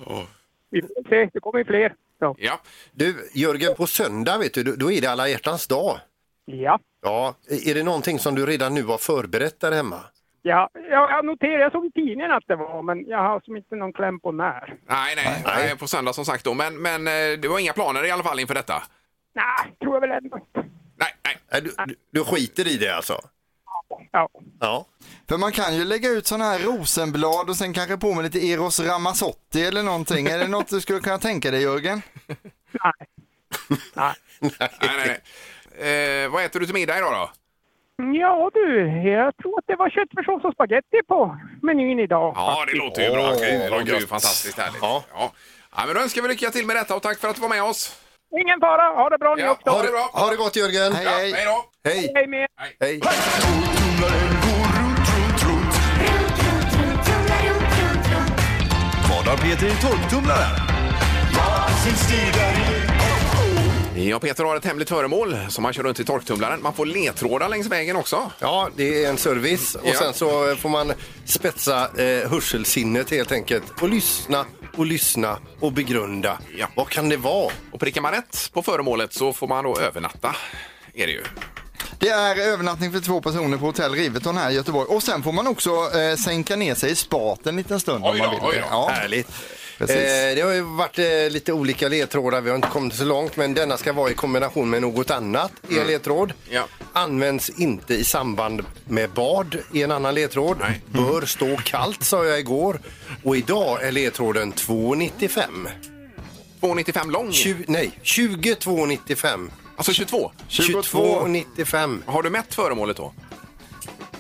[SPEAKER 11] Vi får se, det kommer ju fler. Så.
[SPEAKER 4] Ja.
[SPEAKER 5] Du, Jörgen, på söndag vet du, då- då är det alla hjärtans dag.
[SPEAKER 11] Ja.
[SPEAKER 5] Ja, är det någonting som du redan nu har förberett där hemma?
[SPEAKER 11] Ja, jag, jag noterade, jag såg i tidningen att det var, men jag har som inte någon kläm på när.
[SPEAKER 4] Nej, nej, nej, på söndag som sagt då. Men, men eh, det var inga planer i alla fall inför detta?
[SPEAKER 11] Nej, tror jag väl ändå inte.
[SPEAKER 4] Nej, nej.
[SPEAKER 5] Nej, Du, du, du skiter i det alltså?
[SPEAKER 11] Ja.
[SPEAKER 5] Ja.
[SPEAKER 6] För man kan ju lägga ut sådana här rosenblad och sen kanske på med lite Eros Ramazzotti eller någonting. Är det något du skulle kunna tänka dig Jörgen?
[SPEAKER 11] Nej. Nej.
[SPEAKER 4] nej, nej, nej. Eh, vad äter du till middag idag då?
[SPEAKER 11] Ja du, jag tror att det var köttfärssås och spagetti på menyn idag.
[SPEAKER 4] Ja, det låter ju bra.
[SPEAKER 5] Åh,
[SPEAKER 4] Det
[SPEAKER 5] vad
[SPEAKER 4] låter ju
[SPEAKER 5] gött.
[SPEAKER 4] fantastiskt härligt. Ja.
[SPEAKER 5] Ja.
[SPEAKER 4] Ja. men då önskar vi lycka till med detta och tack för att du var med oss.
[SPEAKER 11] Ingen fara. Ha det bra ni också.
[SPEAKER 5] Ha det, ha det gott Jörgen!
[SPEAKER 11] Ja, hej. hej då.
[SPEAKER 5] Hej!
[SPEAKER 11] Hej med er.
[SPEAKER 5] Hej!
[SPEAKER 12] Vad har Peter i torktumlaren?
[SPEAKER 4] Ja, Peter har ett hemligt föremål som man kör runt i torktumlaren. Man får ledtrådar längs vägen också.
[SPEAKER 5] Ja, det är en service och
[SPEAKER 4] Ja.
[SPEAKER 5] sen så eh, får man spetsa eh, hörselsinnet helt enkelt och lyssna och lyssna och begrunda. Vad kan det vara?
[SPEAKER 4] Och prickar man rätt på föremålet så får man då övernatta. Är det ju.
[SPEAKER 6] Det är övernattning för två personer på hotell Riveton här i Göteborg. Och sen får man också eh, sänka ner sig i spat en liten stund om man vill. det. Ja.
[SPEAKER 5] Härligt. Eh,
[SPEAKER 6] Precis.
[SPEAKER 5] det har ju varit eh, lite olika ledtrådar, vi har inte kommit så långt men denna ska vara i kombination med något annat i en ledtråd. Används inte i samband med bad i en annan ledtråd. Mm. Bör stå kallt sa jag igår och idag är ledtråden 2,95.
[SPEAKER 4] 2,95 lång?
[SPEAKER 5] Tju- nej, 22,95.
[SPEAKER 4] Alltså 22?
[SPEAKER 5] 22,95.
[SPEAKER 4] Har du mätt föremålet då?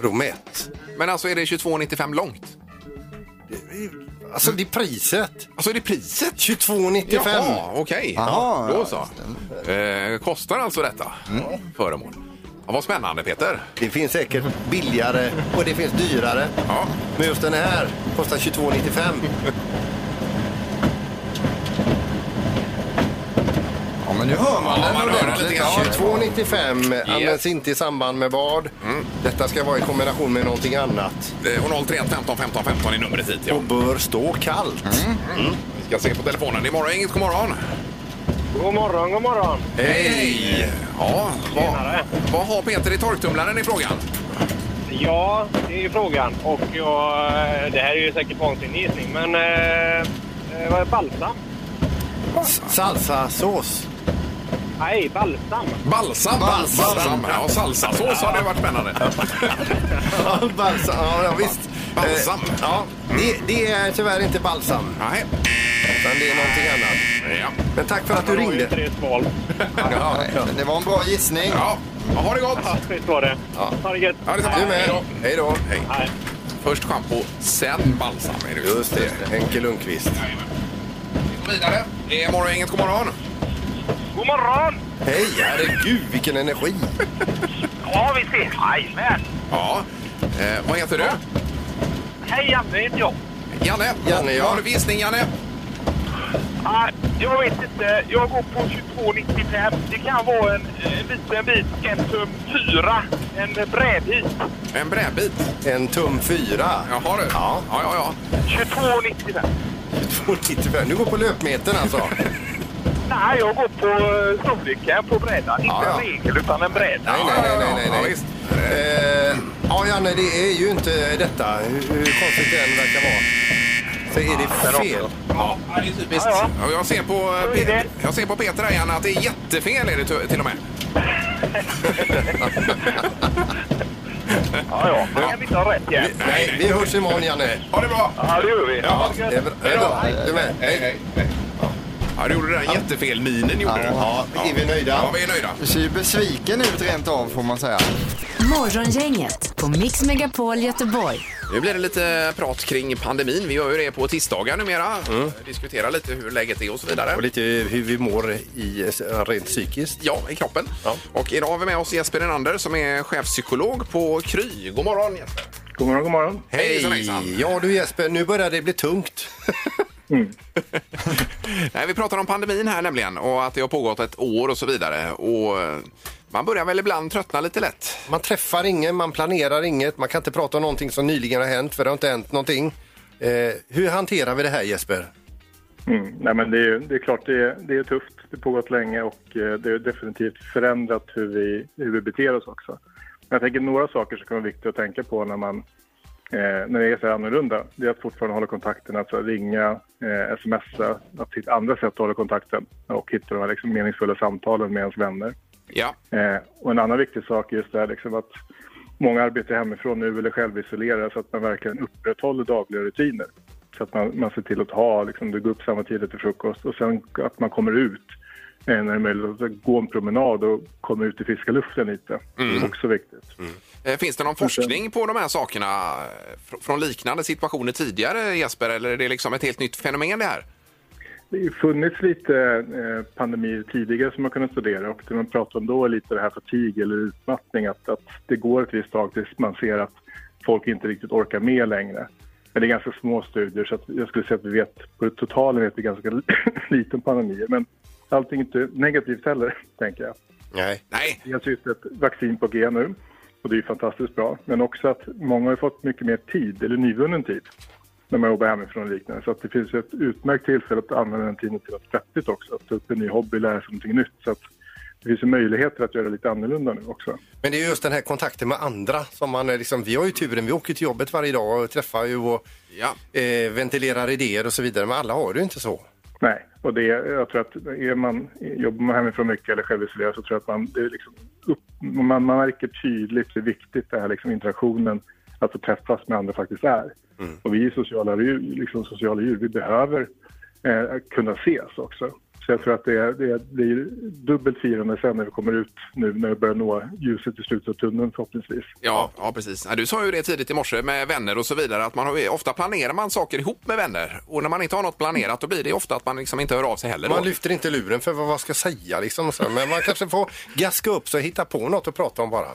[SPEAKER 5] Romet.
[SPEAKER 4] Men alltså är det 22,95 långt?
[SPEAKER 5] Alltså det är priset.
[SPEAKER 4] Alltså är det priset?
[SPEAKER 5] 22,95.
[SPEAKER 4] Jaha, okej.
[SPEAKER 5] Aha,
[SPEAKER 4] då
[SPEAKER 5] ja,
[SPEAKER 4] så. Eh, kostar alltså detta föremål? Ja, vad spännande Peter.
[SPEAKER 5] Det finns säkert billigare och det finns dyrare.
[SPEAKER 4] Ja.
[SPEAKER 5] Men just den här kostar 22,95.
[SPEAKER 6] ja, men nu hör man den ordentligt.
[SPEAKER 5] ordentligt. 22,95 används inte i samband med vad.
[SPEAKER 4] Mm.
[SPEAKER 5] Detta ska vara i kombination med någonting annat.
[SPEAKER 4] Eh, Och 031 15 15 15 är numret hit. Ja. Mm. Och
[SPEAKER 5] bör stå kallt.
[SPEAKER 4] Vi ska se på telefonen. Det är morgon, inget god morgon.
[SPEAKER 11] God morgon, god morgon.
[SPEAKER 4] Hej! Ja, vad, vad har Peter i torktumlaren i frågan?
[SPEAKER 11] Ja, det är ju frågan. Och jag, eh, det här är ju säkert vansinnig gissning, men eh, eh, vad är balsam?
[SPEAKER 5] Salsasås.
[SPEAKER 11] Nej, balsam.
[SPEAKER 4] Balsam! Balsam! balsam. Ja, salsasås hade ju varit spännande.
[SPEAKER 5] balsam, ja, ja visst.
[SPEAKER 4] Balsam.
[SPEAKER 5] Eh, ja, det, det är tyvärr inte balsam.
[SPEAKER 4] Nej.
[SPEAKER 5] Utan det är någonting annat.
[SPEAKER 4] Ja.
[SPEAKER 5] Men tack för att du ringde.
[SPEAKER 6] Ja, det var en bra gissning.
[SPEAKER 4] Ja, ja ha det gott!
[SPEAKER 11] Schysst var det.
[SPEAKER 5] Ja.
[SPEAKER 11] Ha det gött.
[SPEAKER 4] Ja, detsamma.
[SPEAKER 5] Du med.
[SPEAKER 4] Hej då.
[SPEAKER 5] Hej då.
[SPEAKER 11] Hej.
[SPEAKER 4] Först schampo, sen balsam. Är det ju.
[SPEAKER 5] Just det, Henke Lundqvist.
[SPEAKER 4] Vidare. Det är morgon, inget god morgon.
[SPEAKER 11] God morgon!
[SPEAKER 5] Hej, herregud vilken energi.
[SPEAKER 11] Ja, vi ses. Jajamän.
[SPEAKER 4] Ja. Eh, vad heter du?
[SPEAKER 11] Hej, Janne heter jag.
[SPEAKER 4] Janne?
[SPEAKER 5] Janne, ja.
[SPEAKER 4] Har du visning, Janne?
[SPEAKER 11] Ah, jag vet inte. Jag går på 22,95. Det kan vara en, eh, en liten bit, en tum fyra. En eh, brädbit.
[SPEAKER 4] En brädbit.
[SPEAKER 5] En tum fyra.
[SPEAKER 4] Jaha du. Ja, ja, ja.
[SPEAKER 11] 22,95.
[SPEAKER 5] 2,95. Du går på löpmetern alltså.
[SPEAKER 11] Nej, jag går på eh, storleken på brädan. Inte
[SPEAKER 5] Ja, ja.
[SPEAKER 11] en regel, utan en bräda.
[SPEAKER 5] Nej, nej, nej, nej, nej. nej. Eh, ja, Janne, det är ju inte detta. Hur, hur konstigt det än verkar vara. Så är det fel.
[SPEAKER 4] Ja, det är typiskt. Ja. Jag, ser på, eh, Pe- jag ser på Peter här, Janne, att det är jättefel är det t- till och med.
[SPEAKER 11] Ja, ja. Man kan inte ha rätt igen.
[SPEAKER 5] Nej, vi hörs imorgon, Janne.
[SPEAKER 4] Ha det bra!
[SPEAKER 11] Ja, det gör vi.
[SPEAKER 4] Ja.
[SPEAKER 5] Det är bra. Hej då. Du med.
[SPEAKER 4] Hej, hej. hej. Ja, du gjorde den här jättefel-minen. Gjorde du.
[SPEAKER 5] Ja, är vi nöjda?
[SPEAKER 4] ja, vi är nöjda.
[SPEAKER 6] Du ser ju besviken ut rent av får man säga.
[SPEAKER 3] Morgongänget på Mix Megapol Göteborg.
[SPEAKER 4] Nu blir det lite prat kring pandemin. Vi gör ju det på tisdagar numera. Diskutera lite hur läget är och så vidare.
[SPEAKER 5] Mm. Och lite hur vi mår i, rent psykiskt.
[SPEAKER 4] Ja, i kroppen. Och idag har vi med oss Jesper Enander som är chefpsykolog på Kry. God morgon Jesper!
[SPEAKER 11] God morgon, god morgon.
[SPEAKER 4] Hejsan, hejsan.
[SPEAKER 5] Hej! Ja du Jesper, nu börjar det bli tungt.
[SPEAKER 4] Nej, vi pratar om pandemin här nämligen och att det har pågått ett år och så vidare. Och eh, man börjar väl ibland tröttna lite lätt.
[SPEAKER 5] Man träffar ingen, man planerar inget, man kan inte prata om någonting som nyligen har hänt för det har inte hänt någonting. Eh, hur hanterar vi det här Jesper?
[SPEAKER 13] Mm, nej men det, är, ju- det är klart, det är, det är tufft. Det har pågått länge och eh, det har definitivt förändrat hur vi, hur vi beter oss också. Men jag tänker några saker som kan vara viktiga att tänka på när man eh, när det är så här annorlunda. Det är att fortfarande hålla kontakten, alltså ringa, eh, smsa, att hitta andra sätt att hålla kontakten och hitta de här liksom, meningsfulla samtalen med ens vänner.
[SPEAKER 4] Ja.
[SPEAKER 13] Eh, och en annan viktig sak är just det här liksom att många arbetar hemifrån nu eller självisolerar så att man verkligen upprätthåller dagliga rutiner. Så att man, man ser till att ha, liksom, du går upp samma tid till frukost och sen att man kommer ut eh, när det är möjligt att gå en promenad och komma ut i friska luften lite.
[SPEAKER 4] Mm.
[SPEAKER 13] Också viktigt.
[SPEAKER 4] Eh, Finns det någon forskning på de här sakerna eh, fr- från liknande situationer tidigare Jesper? Eller är det liksom ett helt nytt fenomen det här?
[SPEAKER 13] det har ju funnits lite eh, pandemier tidigare som man kunnat studera och det man pratade om då är lite det här fatig eller utmattning, att, att det går ett visst tag tills man ser att folk inte riktigt orkar med längre. Men det är ganska små studier så att jag skulle säga att vi vet, på totalen vet vi ganska lite om pandemier. Men allting är inte negativt heller, tänker jag.
[SPEAKER 5] Nej.
[SPEAKER 4] Nej.
[SPEAKER 13] Dels finns det ett vaccin på G nu och det är ju fantastiskt bra. Men också att många har ju fått mycket mer tid, eller nyvunnen tid, när man jobbar hemifrån och liknande. Så att det finns ju ett utmärkt tillfälle att använda den tiden till något vettigt också. Att ta upp en ny hobby, lära sig någonting nytt. Så att det finns ju möjligheter att göra lite annorlunda nu också.
[SPEAKER 5] Men det är just den här kontakten med andra som man är liksom, vi har ju turen, vi åker till jobbet varje dag och träffar ju och eh, ventilerar idéer och så vidare. Men alla har det ju inte så.
[SPEAKER 13] Nej, och det, jag tror att är man, jobbar man hemifrån mycket eller självisolerad så tror jag att man, det är liksom upp, man, man märker tydligt hur viktigt den här liksom interaktionen, att få träffas med andra faktiskt är. Och vi är sociala djur, liksom sociala djur. vi behöver eh, kunna ses också. Så jag tror att det, är, det, är, det är dubbelt firande sen när vi kommer ut nu när vi börjar nå ljuset i slutet av tunneln förhoppningsvis.
[SPEAKER 4] Ja, ja precis. Ja, Du sa ju det tidigt i morse med vänner och så vidare att man har, ju- ofta planerar man saker ihop med vänner och när man inte har något planerat då blir det ofta att man liksom inte hör av sig heller.
[SPEAKER 5] Man
[SPEAKER 4] då.
[SPEAKER 5] lyfter inte luren för vad man ska säga liksom. och så. Men man kanske får gaska upp sig och hitta på något att prata om bara.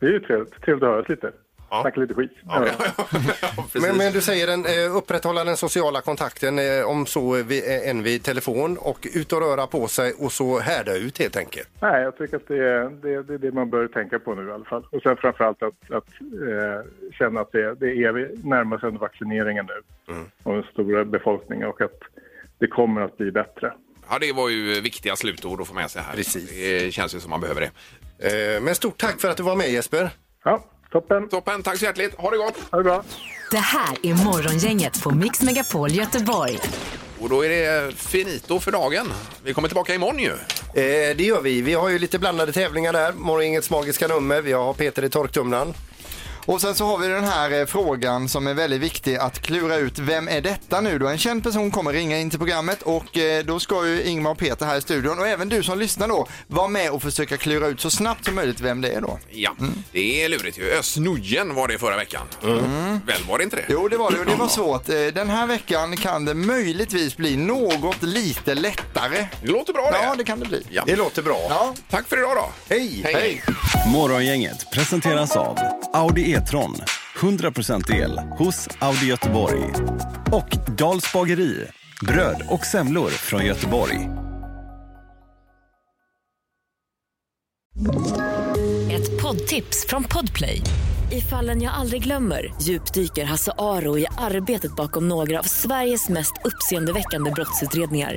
[SPEAKER 13] Det är ju trevligt, trevligt att höras lite. Snacka lite skit. Ja.
[SPEAKER 5] men, men du säger den, eh, upprätthålla den sociala kontakten eh, om så vi, eh, än vid telefon och ut och röra på sig och så härda ut helt enkelt.
[SPEAKER 13] Nej, jag tycker att det är det, det, är det man bör tänka på nu i alla fall. Och sen framförallt att, att eh, känna att det, det är vi närmar sig ändå vaccineringen nu av den stora befolkningen och att det kommer att bli bättre.
[SPEAKER 4] Ja, det var ju viktiga slutord att få med sig här. Precis. Det känns ju som man behöver det. Eh,
[SPEAKER 5] Eh, Men stort tack för att du var med Jesper.
[SPEAKER 13] Ja, toppen.
[SPEAKER 4] Toppen, tack så hjärtligt. Ha det gott!
[SPEAKER 13] Ha det bra.
[SPEAKER 3] Det här är Morgongänget på Mix Megapol Göteborg.
[SPEAKER 4] Och då är det finito för dagen. Vi kommer tillbaka imorgon ju.
[SPEAKER 5] Eh, det gör vi. Vi har ju lite blandade tävlingar där. Morgongängets magiska nummer. Vi har Peter i torktumlaren.
[SPEAKER 6] Och sen så har vi den här eh, frågan som är väldigt viktig att klura ut. Vem är detta nu då? En känd person kommer ringa in till programmet och eh, då ska ju Ingmar och Peter här i studion och även du som lyssnar då vara med och försöka klura ut så snabbt som möjligt vem det är då.
[SPEAKER 4] Ja, det är lurigt ju. Ösnojen var det förra veckan. Väl var det inte det?
[SPEAKER 6] Jo, det var det och det var svårt. Eh, Den här veckan kan det möjligtvis bli något lite lättare.
[SPEAKER 4] Det låter bra
[SPEAKER 6] det. Ja, det kan det bli.
[SPEAKER 4] Ja.
[SPEAKER 5] Det låter bra.
[SPEAKER 6] Ja.
[SPEAKER 4] Tack för idag då.
[SPEAKER 5] Hej!
[SPEAKER 4] Hej.
[SPEAKER 14] Morgongänget presenteras av Audi E-tron. 100% el hos Audi Göteborg. Och Dals bageri. Bröd och semlor från Göteborg.
[SPEAKER 15] Ett poddtips från Podplay. I fallen jag aldrig glömmer djupdyker Hasse Aro i arbetet bakom några av Sveriges mest uppseendeväckande brottsutredningar.